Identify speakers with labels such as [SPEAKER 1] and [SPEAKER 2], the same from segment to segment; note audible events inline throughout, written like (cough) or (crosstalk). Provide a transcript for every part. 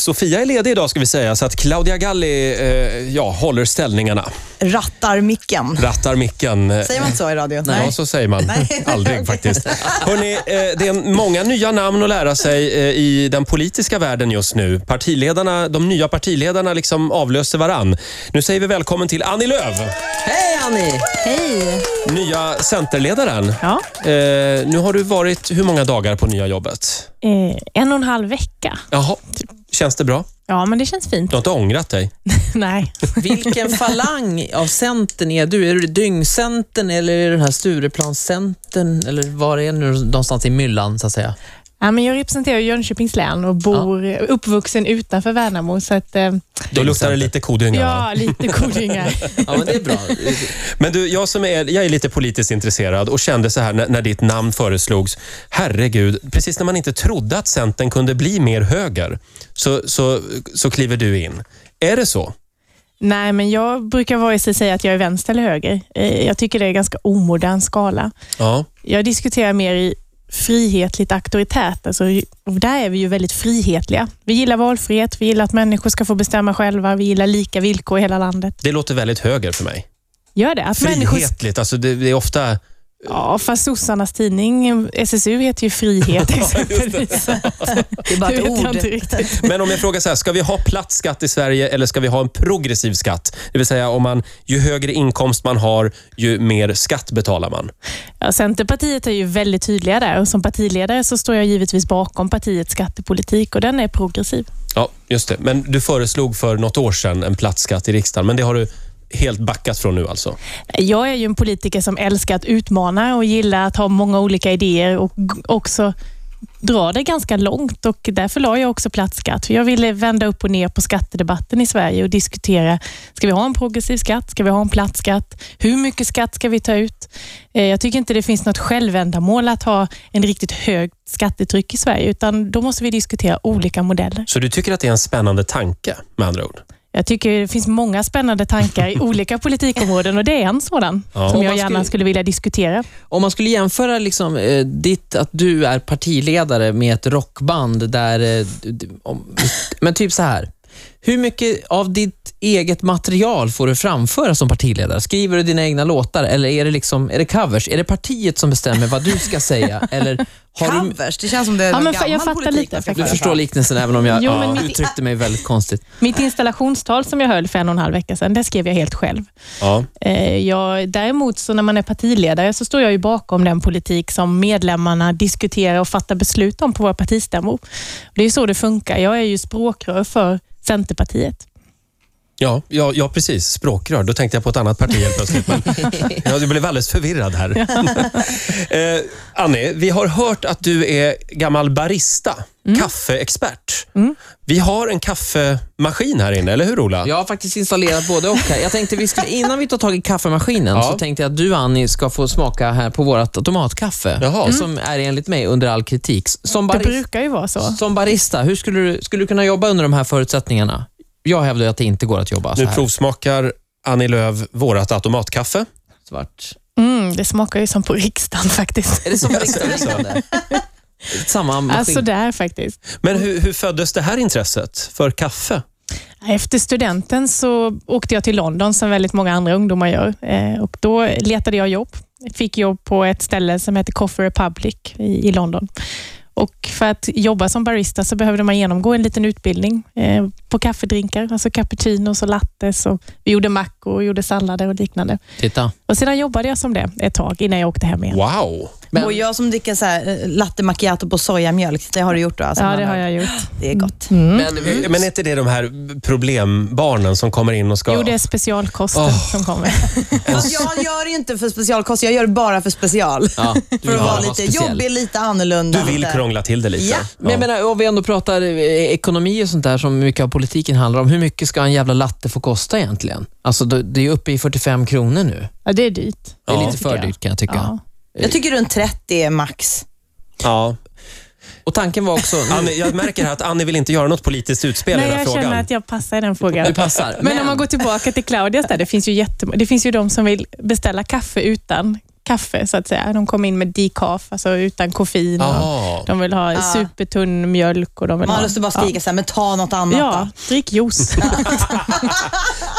[SPEAKER 1] Sofia är ledig idag ska vi säga, så att Claudia Galli eh, ja, håller ställningarna.
[SPEAKER 2] rattar micken.
[SPEAKER 1] Rattar micken. Eh,
[SPEAKER 2] Säger man inte så i radio?
[SPEAKER 1] Ja, så säger man.
[SPEAKER 2] Nej.
[SPEAKER 1] (laughs) Aldrig faktiskt. Hörrni, eh, det är många nya namn att lära sig eh, i den politiska världen just nu. Partiledarna, de nya partiledarna liksom avlöser varann. Nu säger vi välkommen till Annie Lööf,
[SPEAKER 3] Hej Annie!
[SPEAKER 2] Hej!
[SPEAKER 1] nya Centerledaren.
[SPEAKER 4] Ja,
[SPEAKER 1] Eh, nu har du varit hur många dagar på nya jobbet?
[SPEAKER 4] eh, en och en halv vecka.
[SPEAKER 1] Jaha, känns det bra?
[SPEAKER 4] Ja, men det känns fint.
[SPEAKER 1] Du har inte ångrat dig?
[SPEAKER 4] (laughs) Nej.
[SPEAKER 3] Vilken falang av Centern är du? Är du Dyngcentern eller är du den här Stureplanscentern? Eller var är du någonstans i myllan så att säga?
[SPEAKER 4] Ja, men jag representerar Jönköpings län och bor eh, uppvuxen utanför Värnamo, så att, eh,
[SPEAKER 1] Då luktar det lite kodynga va?
[SPEAKER 4] ja, lite kodingar. (laughs)
[SPEAKER 3] Ja, men det är bra.
[SPEAKER 1] Men du, jag som är, jag är lite politiskt intresserad och kände så här när, när ditt namn föreslogs. Herregud, precis när man inte trodde att Centern kunde bli mer höger så, så, så kliver du in. Är det så?
[SPEAKER 4] Nej, men jag brukar vare sig säga att jag är vänster eller höger. Eh, jag tycker det är en ganska omodern skala.
[SPEAKER 1] Ja.
[SPEAKER 4] Jag diskuterar mer i frihetligt auktoritärt. Alltså, och där är vi ju väldigt frihetliga. Vi gillar valfrihet, vi gillar att människor ska få bestämma själva, vi gillar lika villkor i hela landet.
[SPEAKER 1] Det låter väldigt höger för mig.
[SPEAKER 4] Gör det? Att människor
[SPEAKER 1] Frihetligt, alltså det, det är ofta...
[SPEAKER 4] Ja, fast sossarnas tidning SSU heter
[SPEAKER 2] (laughs)
[SPEAKER 4] ju Frihet exempelvis.
[SPEAKER 2] Det är bara
[SPEAKER 4] Det
[SPEAKER 2] ett
[SPEAKER 4] vet jag inte
[SPEAKER 2] ord.
[SPEAKER 4] riktigt.
[SPEAKER 1] Men om jag frågar så här, ska vi ha platt skatt i Sverige eller ska vi ha en progressiv skatt? Det vill säga, om man, ju högre inkomst man har, ju mer skatt betalar man.
[SPEAKER 4] Ja, Centerpartiet är ju väldigt tydliga där och som partiledare så står jag givetvis bakom partiets skattepolitik och den är progressiv.
[SPEAKER 1] Ja, just det. Men du föreslog för något år sedan en platt skatt i riksdagen, men det har du helt backat från nu alltså?
[SPEAKER 4] Jag är ju en politiker som älskar att utmana och gillar att ha många olika idéer och g- också dra det ganska långt och därför la jag också platt skatt. För jag ville vända upp och ner på skattedebatten i Sverige och diskutera, ska vi ha en progressiv skatt? Ska vi ha en platt skatt? Hur mycket skatt ska vi ta ut? Eh, Jag tycker inte det finns något självändamål att ha en riktigt högt skattetryck i Sverige, utan då måste vi diskutera olika modeller.
[SPEAKER 1] Så du tycker att det är en spännande tanke med andra ord?
[SPEAKER 4] Jag tycker det finns många spännande tankar
[SPEAKER 3] (laughs)
[SPEAKER 4] i olika politikområden och det är en sådan
[SPEAKER 1] Ja.
[SPEAKER 4] som
[SPEAKER 3] Om
[SPEAKER 4] jag
[SPEAKER 3] man
[SPEAKER 4] gärna
[SPEAKER 3] skulle-
[SPEAKER 4] skulle vilja diskutera.
[SPEAKER 3] Om man skulle jämföra liksom, eh, ditt, att du är partiledare med ett rockband där... Eh, du- du- om, men typ så här. Hur mycket av ditt eget material får du framföra som partiledare? Skriver du dina egna låtar eller är det, liksom, är det covers? Är det partiet som bestämmer vad du ska säga? Eller har du,
[SPEAKER 2] Covers, det känns som det är
[SPEAKER 4] Ja,
[SPEAKER 2] någon
[SPEAKER 4] men fa- jag
[SPEAKER 2] gammal
[SPEAKER 4] fattar
[SPEAKER 2] politik
[SPEAKER 4] lite
[SPEAKER 2] man ska
[SPEAKER 4] faktiskt.
[SPEAKER 3] Du
[SPEAKER 2] föra
[SPEAKER 3] förstår
[SPEAKER 2] fram.
[SPEAKER 3] liknsen även om jag
[SPEAKER 4] Jo,
[SPEAKER 3] ja,
[SPEAKER 4] men mitt-
[SPEAKER 3] uttryckte mig väldigt konstigt.
[SPEAKER 4] Mitt installationstal som jag höll för en och en halv vecka sedan, det skrev jag helt själv.
[SPEAKER 1] Ja.
[SPEAKER 4] Eh, Jag, däremot så när man är partiledare så står jag ju bakom den politik som medlemmarna diskuterar och fattar beslut om på våra partistämmor. Det är ju så det funkar. Jag är ju språkrör för Centerpartiet.
[SPEAKER 1] Ja, ja, ja, precis. Språkrör. Då tänkte jag på ett annat parti helt plötsligt.
[SPEAKER 3] (laughs)
[SPEAKER 1] Men, ja, du blev alldeles förvirrad här. (laughs) eh, Annie, vi har hört att du är gammal barista,
[SPEAKER 3] Mm.
[SPEAKER 1] kaffeexpert. Vi har en kaffemaskin här inne, eller hur Ola?
[SPEAKER 3] Jag har faktiskt installerat både och här. Jag tänkte vi skulle, innan vi tar tag i kaffemaskinen
[SPEAKER 1] Ja.
[SPEAKER 3] så tänkte jag att du Annie ska få smaka här på vårt automatkaffe.
[SPEAKER 1] Jaha.
[SPEAKER 3] Som är enligt mig under all kritik. Som,
[SPEAKER 4] Det
[SPEAKER 3] barist,
[SPEAKER 4] brukar ju vara så.
[SPEAKER 3] som barista, hur skulle du, skulle du kunna jobba under de här förutsättningarna? Jag hävdar ju att det inte går att jobba så
[SPEAKER 1] Nu
[SPEAKER 3] här.
[SPEAKER 1] provsmakar Annie Lööf vårat automatkaffe.
[SPEAKER 3] Svart.
[SPEAKER 4] Mm, det smakar ju som på riksdagen faktiskt.
[SPEAKER 3] Är det som barista? Samma maskin.
[SPEAKER 4] Alltså där faktiskt.
[SPEAKER 1] Men hur, hur föddes det här intresset för kaffe?
[SPEAKER 4] Efter studenten så åkte jag till London som väldigt många andra ungdomar gör. Eh, Och då letade jag jobb. Fick jobb på ett ställe som heter Coffee Republic i, i London. Och för att jobba som barista så behövde man genomgå en liten utbildning eh, på kaffedrinkar, alltså cappuccinos och lattes. Och vi gjorde mackor, gjorde sallader och liknande.
[SPEAKER 3] Titta.
[SPEAKER 4] Och Sedan jobbade jag som det ett tag innan jag åkte hem igen.
[SPEAKER 1] Wow!
[SPEAKER 3] Men-
[SPEAKER 2] Och jag som dricker så här, eh, latte macchiato på sojamjölk, det har du gjort då? Alltså,
[SPEAKER 4] Ja,
[SPEAKER 2] Man
[SPEAKER 4] det har
[SPEAKER 2] har-
[SPEAKER 4] jag Mm. gjort.
[SPEAKER 2] Det är gott.
[SPEAKER 3] Men,
[SPEAKER 1] Men är inte det de här problembarnen som kommer in och ska...
[SPEAKER 4] Jo, det är specialkosten
[SPEAKER 1] Åh.
[SPEAKER 4] som kommer.
[SPEAKER 2] Fast jag gör det ju inte för specialkost, jag gör det bara för special.
[SPEAKER 3] ja, du
[SPEAKER 2] För att
[SPEAKER 3] har
[SPEAKER 2] vara
[SPEAKER 3] något
[SPEAKER 2] lite
[SPEAKER 3] speciellt.
[SPEAKER 2] jobbig, lite annorlunda.
[SPEAKER 1] Du vill
[SPEAKER 2] lite-
[SPEAKER 1] krångla till det lite?
[SPEAKER 2] Ja.
[SPEAKER 3] Men jag menar, om vi ändå pratar eh, ekonomi och sånt där som mycket av politiken handlar om. Hur mycket ska en jävla latte få kosta egentligen? Alltså det det är ju uppe i 45 kronor nu.
[SPEAKER 4] Ja, det är dyrt.
[SPEAKER 3] Det är
[SPEAKER 1] Ja,
[SPEAKER 3] lite
[SPEAKER 4] tycker
[SPEAKER 3] för
[SPEAKER 4] jag.
[SPEAKER 3] dyrt kan jag tycka.
[SPEAKER 4] Ja.
[SPEAKER 2] Jag tycker runt 30 är max.
[SPEAKER 1] ja.
[SPEAKER 3] Och tanken var också... (laughs)
[SPEAKER 1] Annie, jag märker här att Annie vill inte göra något politiskt utspel i
[SPEAKER 4] Nej,
[SPEAKER 1] den här
[SPEAKER 4] jag känner
[SPEAKER 1] frågan.
[SPEAKER 4] att jag passar i den frågan.
[SPEAKER 3] Du passar.
[SPEAKER 4] Men om man går tillbaka till Claudias där, det finns ju jättemånga. Det finns ju de som vill beställa kaffe utan kaffe så att säga. De kom in med decaf, alltså utan koffein. Och
[SPEAKER 1] Ah.
[SPEAKER 4] de vill ha
[SPEAKER 2] Ja.
[SPEAKER 4] supertunn mjölk. Och de vill
[SPEAKER 2] Man har
[SPEAKER 4] ha,
[SPEAKER 2] lust att bara skrika så här, men ta något annat
[SPEAKER 4] Ja,
[SPEAKER 2] då. (laughs)
[SPEAKER 4] drick juice.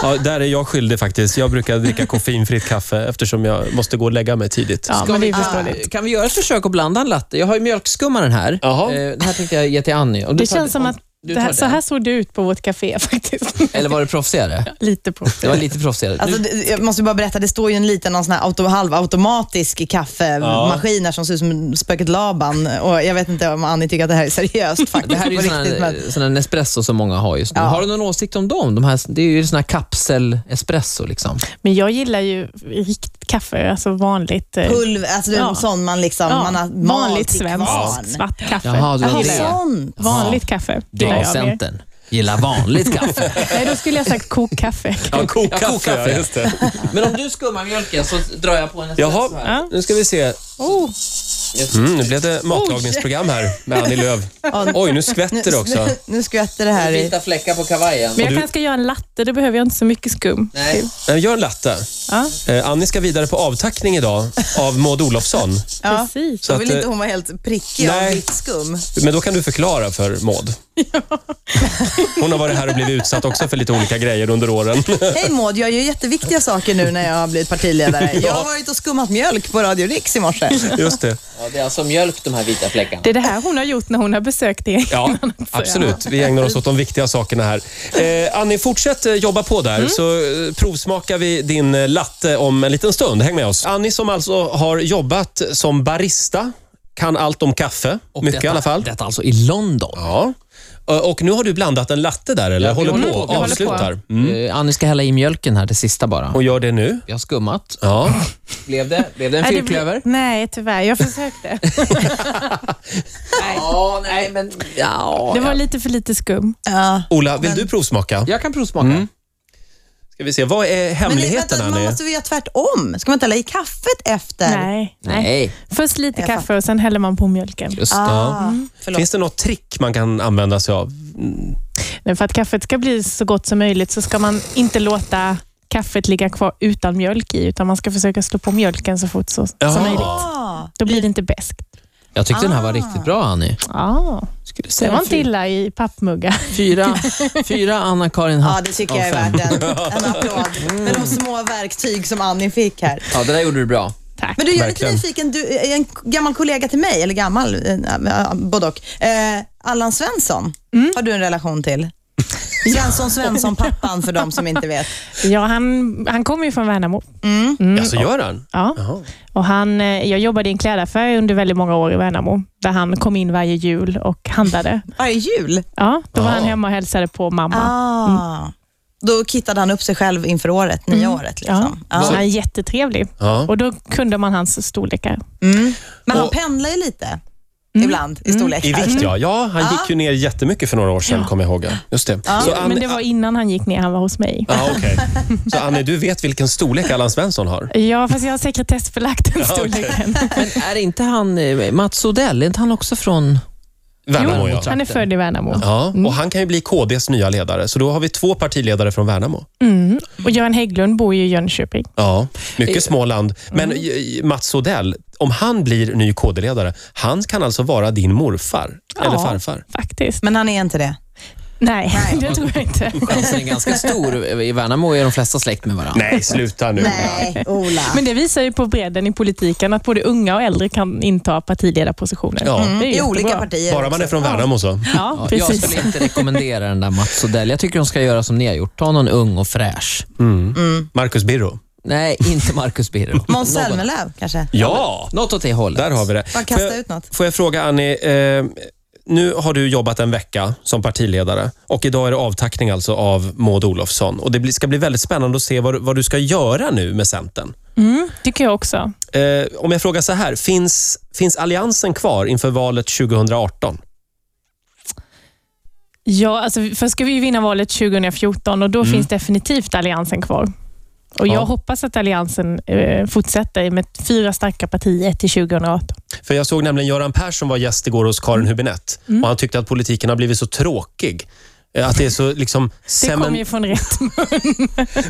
[SPEAKER 1] Ja, där är jag skyldig faktiskt. Jag brukar dricka koffeinfritt kaffe eftersom jag måste gå och lägga mig tidigt.
[SPEAKER 4] Ja,
[SPEAKER 3] Ska
[SPEAKER 4] men det
[SPEAKER 3] vi- Ah,
[SPEAKER 4] är förståeligt.
[SPEAKER 3] Kan vi göra ett försök att blanda en latte? Jag har ju mjölkskummaren här.
[SPEAKER 1] Jaha.
[SPEAKER 3] Eh, Det här tänkte jag ge till Annie. Och du
[SPEAKER 4] Det
[SPEAKER 3] tar-
[SPEAKER 4] känns som
[SPEAKER 3] om-
[SPEAKER 4] att
[SPEAKER 3] du
[SPEAKER 4] det här,
[SPEAKER 3] tar
[SPEAKER 4] så
[SPEAKER 3] den.
[SPEAKER 4] här såg det ut på vårt café (laughs) faktiskt.
[SPEAKER 3] Eller var det proffsigare?
[SPEAKER 4] Lite på.
[SPEAKER 3] Det var lite proffsigare.
[SPEAKER 2] Alltså, det- jag måste bara berätta, det står ju en liten någon sån här auto, halvautomatisk kaffemaskin här som ser ut som spöket Laban. Och jag vet inte om Annie tycker att det här är seriöst faktiskt.
[SPEAKER 3] Det här är ju
[SPEAKER 2] på
[SPEAKER 3] såna,
[SPEAKER 2] riktigt,
[SPEAKER 1] eh,
[SPEAKER 2] men-
[SPEAKER 3] såna Nespresso som många har just nu.
[SPEAKER 2] Ja.
[SPEAKER 3] Har du någon åsikt om dem? De här, det är ju såna här kapsel-espresso. Liksom.
[SPEAKER 4] Men jag gillar ju riktigt kaffe, alltså vanligt. eh,
[SPEAKER 2] Pulver, alltså det är
[SPEAKER 4] Ja.
[SPEAKER 2] en sån man liksom,
[SPEAKER 4] ja,
[SPEAKER 2] man har
[SPEAKER 4] vanligt
[SPEAKER 2] malt i kvarn.
[SPEAKER 4] svenskt svart kaffe.
[SPEAKER 3] Jaha, du
[SPEAKER 2] Jaha,
[SPEAKER 3] det.
[SPEAKER 2] sånt.
[SPEAKER 4] Vanligt kaffe
[SPEAKER 3] Det
[SPEAKER 4] gillar
[SPEAKER 3] är
[SPEAKER 4] jag mer.
[SPEAKER 3] Centern. Gillar vanligt kaffe.
[SPEAKER 4] Nej, då skulle jag sagt kokkaffe.
[SPEAKER 1] Ja, kokkaffe.
[SPEAKER 3] Ja, kokkaffe.
[SPEAKER 1] ja, just det.
[SPEAKER 3] (laughs) Men om du skummar mjölken så drar jag på en
[SPEAKER 1] Jaha,
[SPEAKER 3] espresso här.
[SPEAKER 4] Ja.
[SPEAKER 1] nu ska vi se.
[SPEAKER 4] Oh,
[SPEAKER 1] Mm, nu blev det matlagningsprogram här med Annie Lööf. Oj, nu skvätter det också.
[SPEAKER 2] nu skvätter det här i.
[SPEAKER 3] Vita fläckar på kavajen.
[SPEAKER 4] men
[SPEAKER 1] Och
[SPEAKER 4] jag
[SPEAKER 1] du-
[SPEAKER 4] kanske ska göra en latte, då behöver jag inte så mycket skum.
[SPEAKER 3] Nej.
[SPEAKER 1] Eh, Gör en latte.
[SPEAKER 4] Ja,
[SPEAKER 1] Eh, Annie ska vidare på avtackning idag av Maud Olofsson.
[SPEAKER 2] Ja.
[SPEAKER 4] precis.
[SPEAKER 1] Så
[SPEAKER 2] Då
[SPEAKER 1] att,
[SPEAKER 2] vill inte
[SPEAKER 1] eh,
[SPEAKER 2] hon vara helt prickig av
[SPEAKER 1] Nej.
[SPEAKER 2] vitt skum.
[SPEAKER 1] men då kan du förklara för Maud. Hon har varit här och blivit utsatt också för lite olika grejer under åren.
[SPEAKER 2] Hej Maud, jag gör jätteviktiga saker nu när jag har
[SPEAKER 1] (laughs)
[SPEAKER 2] blivit partiledare. Jag har varit och skummat mjölk på Radio Rix i morse.
[SPEAKER 1] Just det.
[SPEAKER 3] Ja, det är alltså mjölk, de här vita fläckarna.
[SPEAKER 4] Det är det här hon har gjort när hon har besökt er.
[SPEAKER 1] Ja, absolut. Vi ägnar oss åt de viktiga sakerna här. Eh, Annie, fortsätt eh, jobba på där så eh, provsmakar vi din eh, latte om en liten stund. Häng med oss. Annie som alltså har jobbat som barista, kan allt om kaffe.
[SPEAKER 3] Och
[SPEAKER 1] mycket
[SPEAKER 3] detta,
[SPEAKER 1] i alla fall.
[SPEAKER 3] Detta alltså i London.
[SPEAKER 1] Ja. Eh, Och nu har du blandat en latte där, eller?
[SPEAKER 3] Ja, vi
[SPEAKER 1] håller, på,
[SPEAKER 3] håller på, vi håller på.
[SPEAKER 1] avslutar. Mm.
[SPEAKER 3] Eh, Annie ska hälla i mjölken här, det sista bara.
[SPEAKER 1] Och gör det nu.
[SPEAKER 3] Jag har skummat.
[SPEAKER 1] Ja. (laughs)
[SPEAKER 3] Blev det, blev det en
[SPEAKER 4] Nej, det
[SPEAKER 3] fyrklöver?
[SPEAKER 4] blir- Nej, tyvärr. Jag försökte.
[SPEAKER 3] Ja, nej men... Ja,
[SPEAKER 4] Det var
[SPEAKER 3] jag,
[SPEAKER 4] lite för lite skum.
[SPEAKER 2] Ja.
[SPEAKER 1] Ola, vill du provsmaka?
[SPEAKER 3] jag kan provsmaka.
[SPEAKER 1] Mm. Ska vi se, vad är
[SPEAKER 2] Men det,
[SPEAKER 1] hemligheten,
[SPEAKER 2] vänta, man
[SPEAKER 1] Annie?
[SPEAKER 2] måste väl göra tvärtom? Ska man inte hälla i kaffet efter?
[SPEAKER 4] Nej. nej.
[SPEAKER 3] Nej,
[SPEAKER 4] Först lite
[SPEAKER 2] Jag
[SPEAKER 4] kaffe och sen häller man på mjölken.
[SPEAKER 3] just det.
[SPEAKER 2] Ah, förlåt.
[SPEAKER 1] Finns det något trick man kan använda sig av?
[SPEAKER 4] Men för att kaffet ska bli så gott som möjligt så ska man inte låta kaffet ligga kvar utan mjölk i, utan man ska försöka slå på mjölken så fort så,
[SPEAKER 1] Jaha.
[SPEAKER 4] som möjligt.
[SPEAKER 2] Ah.
[SPEAKER 4] Då blir det inte beskt.
[SPEAKER 3] Jag tyckte den här var riktigt bra, Annie.
[SPEAKER 4] Ja,
[SPEAKER 3] Skulle
[SPEAKER 4] det
[SPEAKER 3] säga
[SPEAKER 4] var inte illa i pappmuggar.
[SPEAKER 3] (laughs) Fyra, fyra Anna-Karin
[SPEAKER 2] Ja,
[SPEAKER 3] Hatt.
[SPEAKER 2] det tycker
[SPEAKER 3] av
[SPEAKER 2] jag är
[SPEAKER 3] fem.
[SPEAKER 2] värt en, en applåd. Med de små verktyg som Annie fick här.
[SPEAKER 3] Ja, det där gjorde du bra.
[SPEAKER 4] Tack.
[SPEAKER 2] Men du, jag är lite
[SPEAKER 1] Verkligen.
[SPEAKER 2] nyfiken. Du är en gammal kollega till mig, eller gammal, eh, eh, både och. Eh, Allan Svensson
[SPEAKER 4] Mm.
[SPEAKER 2] har du en relation till. Svensson, Svensson, pappan för de som inte vet.
[SPEAKER 4] Ja, han, han kommer ju från Värnamo.
[SPEAKER 1] Mm. Alltså, gör han?
[SPEAKER 4] Ja.
[SPEAKER 1] Jaha.
[SPEAKER 4] Och han, eh, jag jobbade i en klädaffär under väldigt många år i Värnamo, där han kom in varje jul och handlade.
[SPEAKER 2] Varje jul.
[SPEAKER 4] Ja, då var
[SPEAKER 1] Ja.
[SPEAKER 4] han hemma och hälsade på mamma.
[SPEAKER 2] Ah. Då kittade han upp sig själv inför året, nya året.
[SPEAKER 4] Mm. Ja.
[SPEAKER 2] Liksom.
[SPEAKER 4] Så
[SPEAKER 2] Ja.
[SPEAKER 4] han är jättetrevlig.
[SPEAKER 1] Ja.
[SPEAKER 4] Och då kunde man hans storlekar.
[SPEAKER 2] Mm. Men han
[SPEAKER 1] Och- Mm.
[SPEAKER 2] pendlar ju lite
[SPEAKER 4] Mm.
[SPEAKER 2] ibland i storlekar.
[SPEAKER 1] I vikt, ja. Ja, han gick ju ner jättemycket för några år sedan,
[SPEAKER 4] Ja.
[SPEAKER 1] kommer jag ihåg. ja. Just det. Så Ann-
[SPEAKER 4] Men det var innan han gick ner, han var hos mig.
[SPEAKER 1] Ja, okej. Så Annie, du vet vilken storlek Allan Svensson har?
[SPEAKER 4] Ja, fast jag har sekretessbelagt den
[SPEAKER 1] okej.
[SPEAKER 4] storleken.
[SPEAKER 3] Men är inte han, eh, Mats Odell, är inte han också från...
[SPEAKER 1] Värnamo,
[SPEAKER 4] Jo,
[SPEAKER 1] ja.
[SPEAKER 4] han är född i Värnamo.
[SPEAKER 1] ja. Och han kan ju bli KDs nya ledare, så då har vi två partiledare från Värnamo.
[SPEAKER 4] Mm. Och Göran Hägglund bor ju i Jönköping.
[SPEAKER 1] Ja, mycket Småland. Men eh, Mats Odell, om han blir ny KD-ledare, han kan alltså vara din morfar eller
[SPEAKER 4] Ja.
[SPEAKER 1] farfar.
[SPEAKER 4] Faktiskt.
[SPEAKER 2] Men han är inte det.
[SPEAKER 4] Nej, (laughs) det tror jag inte.
[SPEAKER 3] Chansen är ganska stor. I Värnamo är de flesta släkt med varandra.
[SPEAKER 1] Nej, sluta nu.
[SPEAKER 2] Nej, Ola.
[SPEAKER 4] Men det visar ju på bredden i politiken, att både unga och äldre kan inta partiledarpositioner.
[SPEAKER 1] Ja.
[SPEAKER 4] Det är ju
[SPEAKER 2] Mm, I olika
[SPEAKER 4] jättebra.
[SPEAKER 2] partier.
[SPEAKER 1] Bara man är
[SPEAKER 2] också.
[SPEAKER 1] från Värnamo så.
[SPEAKER 4] Ja,
[SPEAKER 3] Ja, jag
[SPEAKER 4] precis.
[SPEAKER 3] skulle inte rekommendera den där Mats Odell. Jag tycker de ska göra som ni har gjort. Ta någon ung och fräsch.
[SPEAKER 1] Marcus Birro.
[SPEAKER 3] Nej, inte Marcus (laughs) Birro.
[SPEAKER 2] Måns
[SPEAKER 3] Någon-
[SPEAKER 2] Zelmerlöw kanske?
[SPEAKER 1] Ja,
[SPEAKER 3] Något åt det hållet.
[SPEAKER 1] där har vi det.
[SPEAKER 2] Bara
[SPEAKER 1] Får jag-
[SPEAKER 2] kasta ut något.
[SPEAKER 1] Får jag fråga Annie, eh, nu har du jobbat en vecka som partiledare och idag är det avtackning alltså av Maud Olofsson. Och det blir- ska bli väldigt spännande att se vad, du- vad du ska göra nu med Centern.
[SPEAKER 4] Mm, tycker jag också.
[SPEAKER 1] Eh, om jag frågar så här, finns, finns Alliansen kvar inför valet 2018?
[SPEAKER 4] Ja, alltså, först ska vi ju vinna valet 2014 och då finns definitivt Alliansen kvar. Och
[SPEAKER 1] Ja.
[SPEAKER 4] Jag hoppas att Alliansen eh, fortsätter med fyra starka partier till 2018.
[SPEAKER 1] För jag
[SPEAKER 4] Mm.
[SPEAKER 1] såg nämligen Göran Persson var gäst igår hos Karin Hübinette och han tyckte att politiken har blivit så tråkig. Eh, Att det är så liksom
[SPEAKER 4] Det
[SPEAKER 1] cement...
[SPEAKER 4] kom ju från rätt (laughs) mun.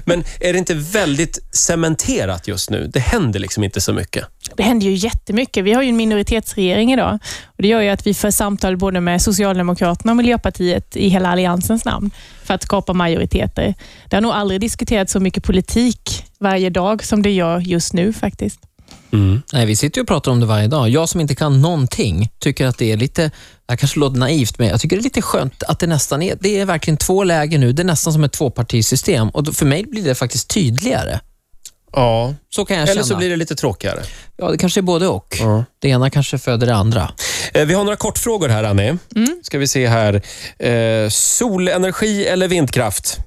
[SPEAKER 1] Men är det inte väldigt cementerat just nu? Det händer liksom inte så mycket.
[SPEAKER 4] Det händer ju jättemycket. Vi har ju en minoritetsregering idag. Och det gör ju att vi för samtal både med Socialdemokraterna och Miljöpartiet i hela Alliansens namn för att skapa majoriteter. Det har nog aldrig diskuterats så mycket politik varje dag som det gör just nu faktiskt.
[SPEAKER 3] Nej, vi sitter ju och pratar om det varje dag. Jag som inte kan någonting tycker att det är lite, det här kanske låter naivt, men jag tycker det är lite skönt att det nästan är, det är verkligen två läger nu. Det är nästan som ett tvåpartisystem och då- för mig blir det faktiskt tydligare.
[SPEAKER 1] Ja.
[SPEAKER 3] Så kan jag
[SPEAKER 1] Eller
[SPEAKER 3] känna.
[SPEAKER 1] så blir det lite tråkigare.
[SPEAKER 3] Ja, det kanske är både och. Det ena kanske föder det andra.
[SPEAKER 1] Eh, Vi har några kortfrågor här, Annie.
[SPEAKER 3] Mm.
[SPEAKER 1] Ska vi se här. Eh, solenergi eller vindkraft?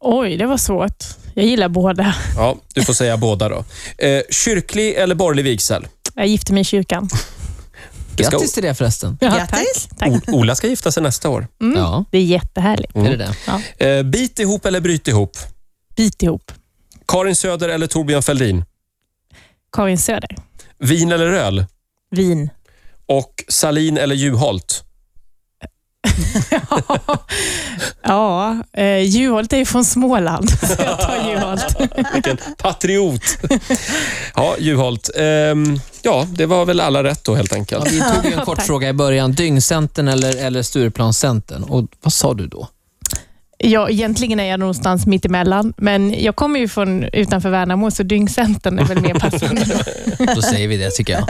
[SPEAKER 4] Oj, det var svårt. Jag gillar båda.
[SPEAKER 1] Ja, du får säga (laughs) båda då. Eh, kyrklig eller borgerlig vigsel?
[SPEAKER 4] Jag gifte mig i kyrkan.
[SPEAKER 1] Det ska-
[SPEAKER 3] Grattis till det förresten.
[SPEAKER 4] Ja,
[SPEAKER 2] Grattis.
[SPEAKER 4] Tack. tack.
[SPEAKER 1] O- Ola ska gifta sig nästa år.
[SPEAKER 3] Ja,
[SPEAKER 4] Mm. Det är jättehärligt.
[SPEAKER 3] Mm. är det det?
[SPEAKER 1] Eh, bit ihop eller bryt ihop?
[SPEAKER 4] Bit ihop.
[SPEAKER 1] Karin Söder eller Torbjörn Fälldin?
[SPEAKER 4] Karin Söder.
[SPEAKER 1] Vin eller öl?
[SPEAKER 4] Vin.
[SPEAKER 1] Och Salin eller Juholt?
[SPEAKER 4] (laughs) Ja, eh, Juholt är ju från Småland, så jag tar Juholt.
[SPEAKER 1] Vilken patriot! Ja, Juholt. Ehm, ja, det var väl alla rätt då helt
[SPEAKER 3] Ja,
[SPEAKER 1] enkelt.
[SPEAKER 3] vi
[SPEAKER 1] (laughs)
[SPEAKER 3] tog ju en kort fråga i början. Dyngcentern eller, eller Stureplanscentern? Och vad sa du då?
[SPEAKER 4] Ja, egentligen är jag någonstans mitt emellan, men jag kommer ju från utanför Värnamo, så dyngcentern är väl (laughs) mer passande.
[SPEAKER 3] Då säger vi det tycker jag.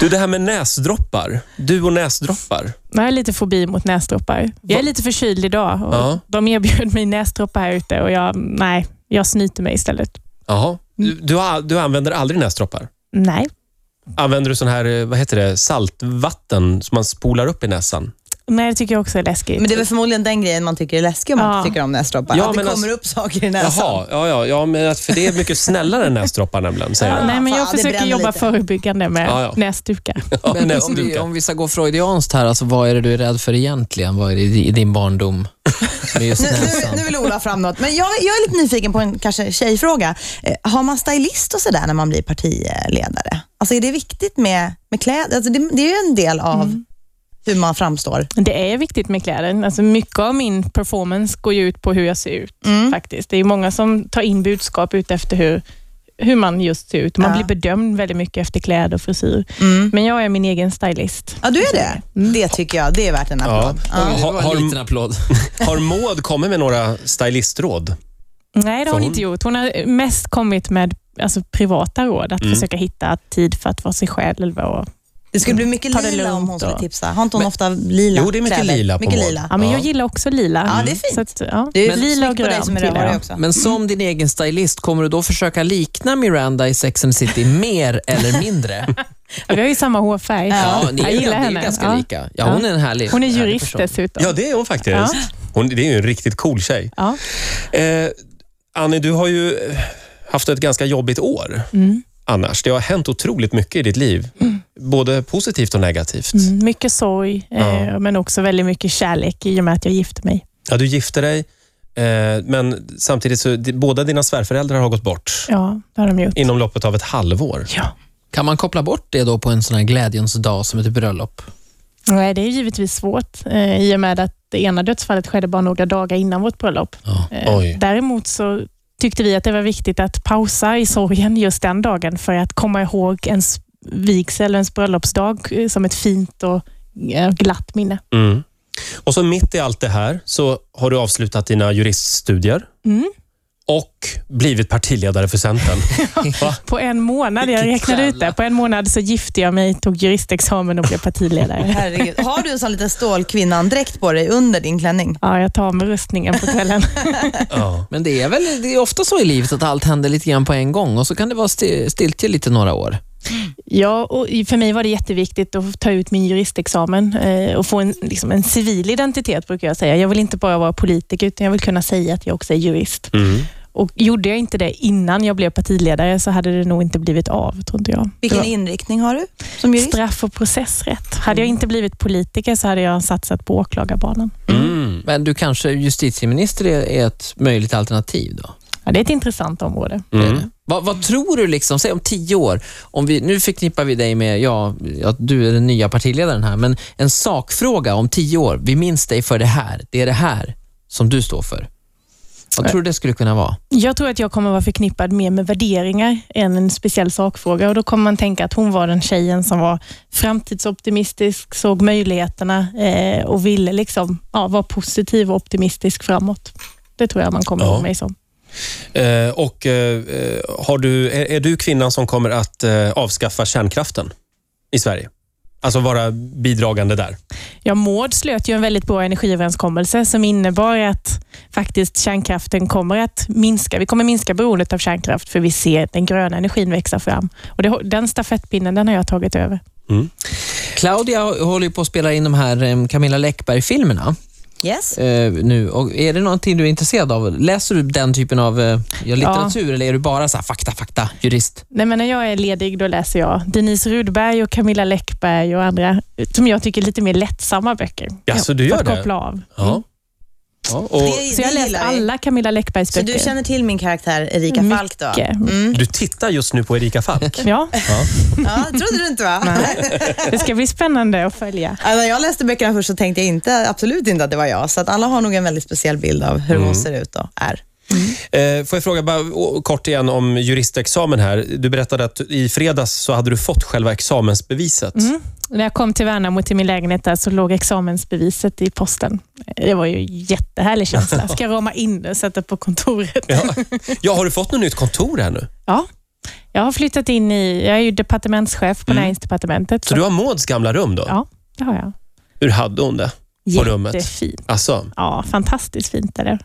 [SPEAKER 1] Du, det här med näsdroppar. Du och näsdroppar.
[SPEAKER 4] Jag har lite fobi mot näsdroppar. Jag är lite förkyld idag och
[SPEAKER 1] Ja.
[SPEAKER 4] de erbjöd mig näsdroppar här ute och jag, nej, jag snyter mig istället.
[SPEAKER 1] Jaha. Du, du, har- du använder aldrig näsdroppar?
[SPEAKER 4] Nej,
[SPEAKER 1] Använder du sån här, eh, vad heter det, saltvatten som man spolar upp i näsan?
[SPEAKER 4] nej det tycker jag också är läskigt.
[SPEAKER 2] Men det är väl förmodligen den grejen man tycker är läskig om man
[SPEAKER 4] Ja.
[SPEAKER 2] inte tycker om näsdroppar.
[SPEAKER 1] Ja,
[SPEAKER 2] att det
[SPEAKER 1] men
[SPEAKER 2] kommer
[SPEAKER 1] alltså-
[SPEAKER 2] upp saker i näsan.
[SPEAKER 1] Jaha, ja, ja, ja men att- för det är mycket snällare än näsdroppar nämligen, säger
[SPEAKER 4] ja,
[SPEAKER 1] de.
[SPEAKER 4] nej, men jag
[SPEAKER 2] Fan, det
[SPEAKER 4] försöker
[SPEAKER 2] bränner
[SPEAKER 4] jobba
[SPEAKER 2] lite.
[SPEAKER 4] förebyggande med
[SPEAKER 1] Ja, ja.
[SPEAKER 4] näsdukar.
[SPEAKER 1] (laughs) Ja,
[SPEAKER 3] Men om, vi,
[SPEAKER 1] näsdukar.
[SPEAKER 3] om vi ska gå freudianskt här, alltså, vad är det du är rädd för egentligen? Vad är det i din barndom med just
[SPEAKER 2] Nu,
[SPEAKER 3] näsan?
[SPEAKER 2] nu, nu vill Ola fram något. Men jag, jag är lite nyfiken på en kanske tjejfråga. Eh, har man stylist och sådär när man blir partiledare? Alltså är det viktigt med, med kläder? Alltså det, det är ju en del av hur man framstår.
[SPEAKER 4] Det är viktigt med kläder. Alltså mycket av min performance går ju ut på hur jag ser ut. faktiskt. Det är många som tar in budskap ut efter hur, hur man just ser ut. Man
[SPEAKER 2] Ja.
[SPEAKER 4] blir bedömd väldigt mycket efter kläder och frisyr.
[SPEAKER 2] Mm.
[SPEAKER 4] Men jag är min egen stylist.
[SPEAKER 2] Ja, du är det. Det tycker jag. Det är värt en applåd.
[SPEAKER 1] Ja.
[SPEAKER 2] Ja.
[SPEAKER 3] Oj, det
[SPEAKER 1] Har-
[SPEAKER 3] var en
[SPEAKER 1] har-
[SPEAKER 3] liten applåd.
[SPEAKER 1] Har Maud kommit med några stylistråd?
[SPEAKER 4] Nej, det har
[SPEAKER 1] Så
[SPEAKER 4] hon
[SPEAKER 1] hon-
[SPEAKER 4] inte gjort. Hon har mest kommit med alltså, privata råd, att försöka hitta tid för att vara sig själv. Och,
[SPEAKER 2] Det skulle bli mycket
[SPEAKER 4] Ta det
[SPEAKER 2] lila om
[SPEAKER 4] lugnt
[SPEAKER 2] hon
[SPEAKER 4] då.
[SPEAKER 2] skulle tipsa. Har inte hon ofta lila
[SPEAKER 1] Jo, det är mycket
[SPEAKER 2] kläder?
[SPEAKER 1] lila på
[SPEAKER 2] mycket
[SPEAKER 1] Maud.
[SPEAKER 2] lila.
[SPEAKER 4] ja, men
[SPEAKER 1] Ja.
[SPEAKER 4] Jag gillar också lila.
[SPEAKER 2] Ja, det är fint.
[SPEAKER 4] Så att, ja.
[SPEAKER 2] Det är
[SPEAKER 4] lila och
[SPEAKER 2] snyggt på dig
[SPEAKER 4] grönt
[SPEAKER 2] som är
[SPEAKER 4] gillar
[SPEAKER 2] rödhårig
[SPEAKER 4] jag. Mm.
[SPEAKER 2] också.
[SPEAKER 3] Men som din egen stylist, kommer du då försöka likna Miranda i Sex and the City mer eller mindre?
[SPEAKER 4] Ja, vi har ju samma hårfärg.
[SPEAKER 3] Ja, ni är,
[SPEAKER 4] jag
[SPEAKER 3] ju-
[SPEAKER 4] gillar
[SPEAKER 3] ni är ju
[SPEAKER 4] henne.
[SPEAKER 3] ganska
[SPEAKER 4] Ja.
[SPEAKER 3] lika. Ja, hon är en härlig
[SPEAKER 4] Hon är
[SPEAKER 3] härlig
[SPEAKER 4] jurist
[SPEAKER 3] person.
[SPEAKER 4] dessutom.
[SPEAKER 1] Ja, det är hon faktiskt.
[SPEAKER 4] Ja.
[SPEAKER 1] Hon, det är ju en riktigt cool tjej.
[SPEAKER 4] Ja.
[SPEAKER 1] Eh, Annie, du har ju eh, haft ett ganska jobbigt år
[SPEAKER 4] Mm.
[SPEAKER 1] annars. Det har hänt otroligt mycket i ditt liv. Både positivt och negativt.
[SPEAKER 4] Mm, Mycket sorg, eh, men också väldigt mycket kärlek i och med att jag gifte mig.
[SPEAKER 1] Ja, du gifte dig, eh, men samtidigt så di- båda dina svärföräldrar har gått bort
[SPEAKER 4] Ja, det har de gjort.
[SPEAKER 1] inom loppet av ett halvår.
[SPEAKER 4] Ja.
[SPEAKER 3] Kan man koppla bort det då på en sån här glädjens dag som ett bröllop?
[SPEAKER 4] Nej, det är givetvis svårt eh, i och med att det ena dödsfallet skedde bara några dagar innan vårt bröllop.
[SPEAKER 3] Ja.
[SPEAKER 4] Eh,
[SPEAKER 1] Oj.
[SPEAKER 4] däremot så tyckte vi att det var viktigt att pausa i sorgen just den dagen för att komma ihåg ens vigsel och ens bröllopsdag eh, som ett fint och eh, glatt minne.
[SPEAKER 1] Mm. Och så mitt i allt det här så har du avslutat dina juriststudier
[SPEAKER 4] Mm.
[SPEAKER 1] och blivit partiledare för Centern.
[SPEAKER 4] På en månad, jag
[SPEAKER 3] Vilket
[SPEAKER 4] räknade ut
[SPEAKER 3] jävla-
[SPEAKER 4] det, på en månad så gifte jag mig, tog juristexamen och blev
[SPEAKER 2] (laughs)
[SPEAKER 4] partiledare.
[SPEAKER 2] Herregud. Har du en sån liten stålkvinnan-dräkt på dig under din klänning?
[SPEAKER 4] Ja, jag tar av mig rustningen på kvällen.
[SPEAKER 1] ja.
[SPEAKER 3] (laughs) Men det är väl det är ofta så i livet att allt händer lite grann på en gång och så kan det vara sti- stiltje lite några år.
[SPEAKER 4] Ja, och för mig var det jätteviktigt att ta ut min juristexamen eh, och få en, liksom en civil identitet, brukar jag säga. Jag vill inte bara vara politiker, utan jag vill kunna säga att jag också är jurist.
[SPEAKER 1] Mm.
[SPEAKER 4] Och Gjorde jag inte det innan jag blev partiledare så hade det nog inte blivit av, tror inte jag.
[SPEAKER 2] Vilken
[SPEAKER 4] Det
[SPEAKER 2] inriktning har du som
[SPEAKER 4] var
[SPEAKER 2] jurist? Mm.
[SPEAKER 4] Straff och processrätt. Hade jag inte blivit politiker så hade jag satsat på åklagarbanan.
[SPEAKER 1] Mm.
[SPEAKER 3] Men du kanske, justitieminister är, är ett möjligt alternativ då?
[SPEAKER 4] Ja, det är ett intressant område.
[SPEAKER 3] Det är
[SPEAKER 1] Mm.
[SPEAKER 3] det. Vad, vad tror du, liksom, säg om tio år, om vi, nu förknippar vi dig med, ja, ja, du är den nya partiledaren här, men en sakfråga om tio år, vi minns dig för det här, det är det här. som du står för? Vad
[SPEAKER 4] Nej.
[SPEAKER 3] tror du det skulle kunna vara?
[SPEAKER 4] Jag tror att jag kommer vara förknippad mer med värderingar än en speciell sakfråga. Och Då kommer man tänka att hon var den tjejen som var framtidsoptimistisk, såg möjligheterna eh, och ville liksom, ja, vara positiv och optimistisk framåt. Det tror jag man kommer
[SPEAKER 1] Ja.
[SPEAKER 4] ihåg mig som.
[SPEAKER 1] Eh, och eh, eh, har du, är, är du kvinnan som kommer att eh, avskaffa kärnkraften i Sverige? Alltså vara bidragande där.
[SPEAKER 4] Ja, Maud slöt ju en väldigt bra energiöverenskommelse som innebar att faktiskt kärnkraften kommer att minska. Vi kommer minska beroendet av kärnkraft för vi ser den gröna energin växa fram. Och det, den stafettpinnen den har jag tagit över.
[SPEAKER 3] Claudia håller ju på att spela in de här eh, Camilla Läckberg-filmerna
[SPEAKER 2] Yes.
[SPEAKER 3] eh, nu. Och är det någonting du är intresserad av? Läser du den typen av eh, ja, litteratur eller är du bara så här, fakta, fakta, jurist?
[SPEAKER 4] Nej, men när jag är ledig då läser jag Denise Rudberg och Camilla Läckberg och andra eh, som jag tycker är lite mer lättsamma böcker.
[SPEAKER 1] Ja, så du
[SPEAKER 4] för
[SPEAKER 1] gör
[SPEAKER 4] att
[SPEAKER 1] det?
[SPEAKER 4] koppla Mm. av.
[SPEAKER 1] Ja. ja och
[SPEAKER 2] Det-
[SPEAKER 4] Så jag
[SPEAKER 2] det
[SPEAKER 4] har läst
[SPEAKER 2] gillar vi.
[SPEAKER 4] alla Camilla Läckbergs
[SPEAKER 2] Så
[SPEAKER 4] böcker.
[SPEAKER 2] du känner till min karaktär Erika
[SPEAKER 4] Mycket.
[SPEAKER 2] Falk då? Mm.
[SPEAKER 1] du tittar just nu på Erika Falk.
[SPEAKER 4] (laughs) Ja,
[SPEAKER 1] Ja.
[SPEAKER 2] Ja, trodde du inte va? (laughs) Nej.
[SPEAKER 4] det ska bli spännande att följa.
[SPEAKER 2] Ja, när jag läste böckerna först så tänkte jag inte, absolut inte att det var jag. Så att alla har nog en väldigt speciell bild av hur hon ser ut och är.
[SPEAKER 1] Eh, får jag fråga bara å- kort igen om juristexamen här. Du berättade att i fredags så hade du fått själva examensbeviset.
[SPEAKER 4] När jag kom till Värnamo till min lägenhet där så låg examensbeviset i posten. Det var ju en jättehärlig känsla. Ska rama in det och sätta på kontoret.
[SPEAKER 1] Ja. ja, har du fått något nytt kontor här nu?
[SPEAKER 4] Ja, jag har flyttat in i... Jag är ju departementschef på Näringsdepartementet.
[SPEAKER 1] Mm. Så du har Mauds gamla rum då?
[SPEAKER 4] Ja, det har jag.
[SPEAKER 1] Hur hade hon det? På rummet?
[SPEAKER 4] Jättefint.
[SPEAKER 1] Alltså,
[SPEAKER 4] Ja, fantastiskt fint är det.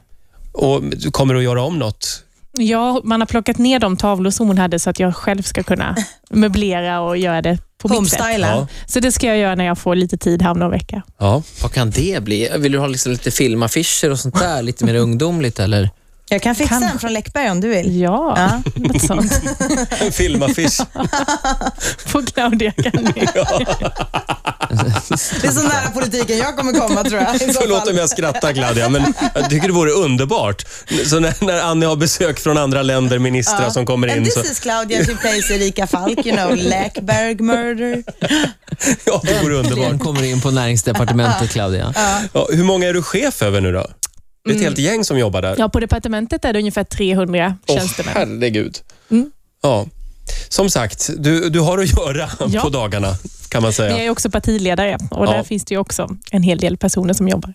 [SPEAKER 1] och du kommer att göra om något?
[SPEAKER 4] Ja, man har plockat ner de tavlor som hon hade så att jag själv
[SPEAKER 1] (laughs)
[SPEAKER 4] ska kunna möblera och göra det på mitt sätt.
[SPEAKER 2] Homestylen.
[SPEAKER 1] Ja.
[SPEAKER 4] Så det ska jag göra när jag får lite tid här om någon vecka.
[SPEAKER 1] Ja.
[SPEAKER 3] Vad kan det bli? Vill du ha liksom lite filmaffischer och sånt där? Lite mer ungdomligt eller?
[SPEAKER 2] Jag kan fixa
[SPEAKER 4] Kanske.
[SPEAKER 2] en från Läckberg om du vill.
[SPEAKER 4] Ja,
[SPEAKER 2] Ja.
[SPEAKER 4] något sånt.
[SPEAKER 1] En filmaffisch.
[SPEAKER 4] (laughs) På Claudia kan ni.
[SPEAKER 2] Det är så nära politiken jag kommer komma tror jag. i så
[SPEAKER 1] Förlåt
[SPEAKER 2] fall.
[SPEAKER 1] om jag skrattar Claudia, men jag tycker det vore underbart. Så när, när Annie har besök från andra länder, ministrar som kommer
[SPEAKER 2] And
[SPEAKER 1] in.
[SPEAKER 2] this
[SPEAKER 1] Så,
[SPEAKER 2] is Claudia, she plays Erika Falk,
[SPEAKER 1] (laughs)
[SPEAKER 2] you know, Läckberg murder.
[SPEAKER 1] ja, det vore underbart.
[SPEAKER 3] Den kommer in på näringsdepartementet, Claudia.
[SPEAKER 1] Ja, hur många är du chef över nu då? Det är ett helt gäng som jobbar där.
[SPEAKER 4] Mm. Ja, på departementet är det ungefär 300
[SPEAKER 1] Åh,
[SPEAKER 4] tjänstemän. Mm.
[SPEAKER 1] herregud. Ja. Som sagt, du, du har att göra (laughs)
[SPEAKER 4] Ja.
[SPEAKER 1] på dagarna kan man
[SPEAKER 4] Men
[SPEAKER 1] säga.
[SPEAKER 4] jag är också partiledare och
[SPEAKER 1] Ja.
[SPEAKER 4] där finns det ju också en hel del personer som jobbar.